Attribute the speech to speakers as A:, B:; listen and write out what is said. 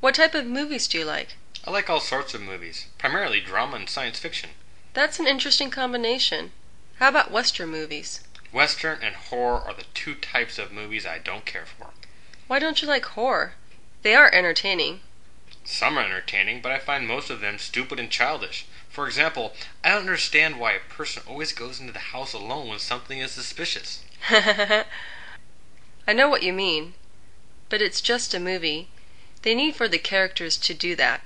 A: What type of movies do you like?
B: I like all sorts of movies, primarily drama and science fiction.
A: That's an interesting combination. How about Western movies?
B: Western and horror are the two types of movies I don't care for.
A: Why don't you like horror? They are entertaining.
B: Some are entertaining, but I find most of them stupid and childish. For example, I don't understand why a person always goes into the house alone when something is suspicious.
A: I know what you mean, but it's just a movie. They need for the characters to do that.